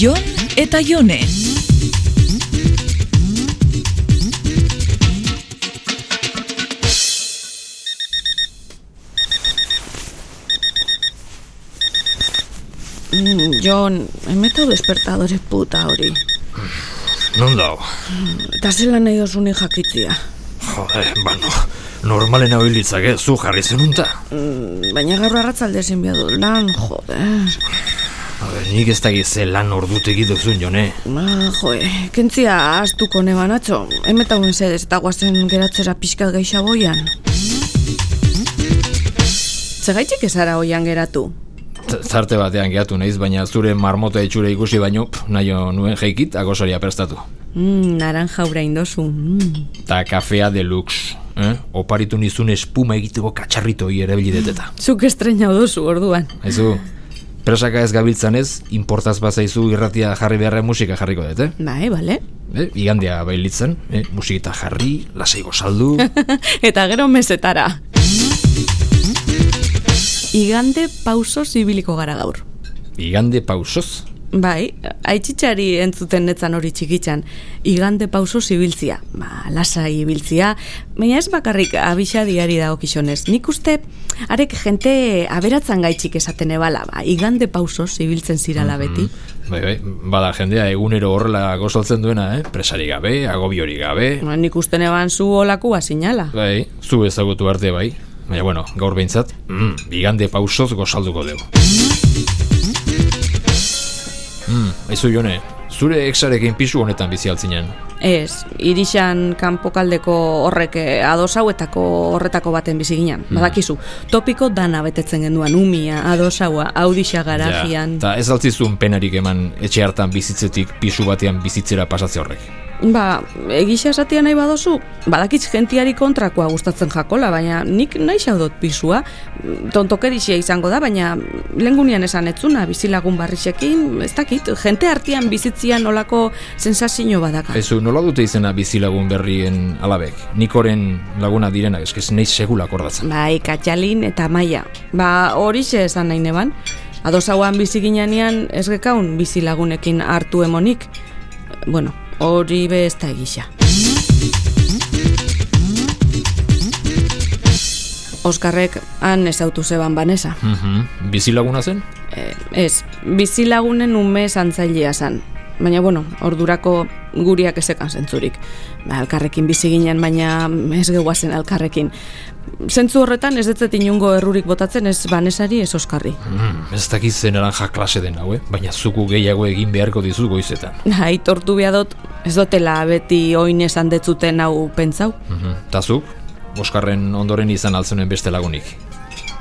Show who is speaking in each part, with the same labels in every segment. Speaker 1: Jon eta Jone.
Speaker 2: Mm, Jon, emeta despertadore puta hori.
Speaker 3: Non dago?
Speaker 2: Eta zela nahi dozuni jakitzia.
Speaker 3: Jode, bano, normalen hau hilitzak ez, zu jarri zenunta.
Speaker 2: Mm, Baina gaur arratzalde ezin biadu lan, jode.
Speaker 3: A ber, nik ez dakit ze lan ordutegi duzun, jone.
Speaker 2: Ma, joe, kentzia astuko neban atzo. Emeta un zedez eta guazen geratzera pixka gaixa boian. Zegaitik ezara hoian geratu.
Speaker 3: T- Tarte batean gehatu naiz, baina zure marmota itxure ikusi baino, pff, nahiyo nuen jeikit agosaria prestatu.
Speaker 2: Mm, naranja urain dozu. Mm.
Speaker 3: Ta kafea deluxe, eh? Oparitu nizun espuma egiteko katxarrito hori erabili deteta.
Speaker 2: Zuk estrena dozu orduan.
Speaker 3: Haizu, presaka ez gabiltzan ez, importaz bazaizu irratia jarri beharra musika jarriko dut, eh?
Speaker 2: Bai, bale.
Speaker 3: eh? Igandea bailitzen, eh? musikita jarri, lasaigo saldu...
Speaker 2: Eh. eta gero mesetara. Igande pausoz ibiliko gara gaur.
Speaker 3: Igande pausoz,
Speaker 2: Bai, aitzitsari entzuten netzan hori txikitzan. Igande pauso zibiltzia, ba, lasa ibiltzia, baina ez bakarrik abixadiari dago kixonez. Nik uste, arek jente aberatzan gaitxik esaten ebala, ba, igande pauso zibiltzen zirala beti.
Speaker 3: Bai, bai, bada jendea egunero horrela gozaltzen duena, eh? Presari gabe, agobiori gabe...
Speaker 2: Ba, Nik uste neban zu olakua sinala.
Speaker 3: Bai, zu ezagutu arte bai. Baina, bueno, gaur behintzat, mm, bigande pausoz gozalduko dugu. Mm, aizu jone, zure exarekin pisu honetan bizi altzinen.
Speaker 2: Ez, irixan kanpokaldeko horrek eh, ados hauetako horretako baten bizi ginen. Badakizu, topiko dana betetzen genduan, umia, ados haua, audixa garajian.
Speaker 3: Eta ez altzizun penarik eman etxe hartan bizitzetik pisu batean bizitzera pasatze horrek.
Speaker 2: Ba, egisa esatia nahi badozu, badakitz gentiari kontrakoa gustatzen jakola, baina nik nahi xaudot pisua, tontokerixia izango da, baina lengunian esan etzuna, bizilagun barrixekin, ez dakit, jente artean bizitzia nolako sensazio badaka.
Speaker 3: Aizu, nola dute izena bizilagun berrien alabek? Nikoren laguna direnak, eskiz nahi segulak ordatzen.
Speaker 2: Bai, katxalin eta maia. Ba, horixe esan nahi neban. Ados hauan bizi ginean ez gekaun bizilagunekin hartu emonik. Bueno, hori be ez da egisa. Oskarrek han ezautu zeban banesa.
Speaker 3: Mhm, bizilaguna zen?
Speaker 2: Eh, ez, bizilagunen ume zantzailea zan. Baina, bueno, ordurako guriak ezekan zentzurik. Ba, alkarrekin bizi ginen, baina ez gehuazen alkarrekin. Zentzu horretan ez detzet inungo errurik botatzen ez banesari ez oskarri.
Speaker 3: Mm, ez dakit zen naranja klase den hau, eh? baina zuku gehiago egin beharko dizu goizetan.
Speaker 2: Aitortu behar dut, ez dotela beti oin esan detzuten hau pentsau.
Speaker 3: Mhm. Ta zuk, Oskarren ondoren izan altzunen beste lagunik.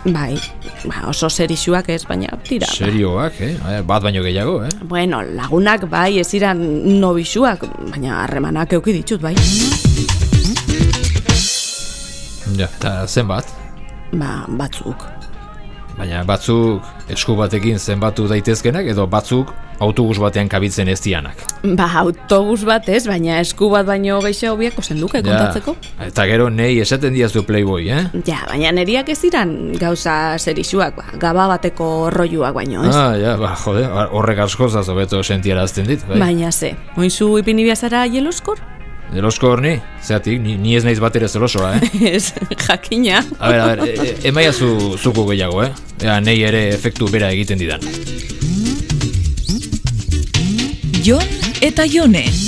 Speaker 2: Bai, ba, oso serixuak ez, baina tira. ba.
Speaker 3: Serioak, eh? Eh, Bat baino gehiago, eh?
Speaker 2: Bueno, lagunak bai ez iran nobixuak, baina harremanak euki ditut bai.
Speaker 3: Ja, eta zenbat?
Speaker 2: Ba, batzuk.
Speaker 3: Baina batzuk esku batekin zenbatu daitezkenak edo batzuk autobus batean kabitzen ez dianak.
Speaker 2: Ba, autobus bat ez, baina esku bat baino gehiago biako zenduke kontatzeko.
Speaker 3: Ja, eta gero nei esaten diazu Playboy, eh?
Speaker 2: Ja, baina neriak ez diran gauza zerixuak, ba, gaba bateko rolluak baino, ez?
Speaker 3: Ah, ja, ba, jode, horrek askozaz hobeto sentiarazten dit, bai.
Speaker 2: Baina ze, oinzu ipini zara jeloskor?
Speaker 3: Zelosko horni, zeatik, ni, ni ez naiz bat ere zelosoa, eh?
Speaker 2: ez, jakina.
Speaker 3: A ber, a ber, e- e- emaia zu, zuko gehiago, eh? Ea, nei ere efektu bera egiten didan.
Speaker 1: Jon eta Jone.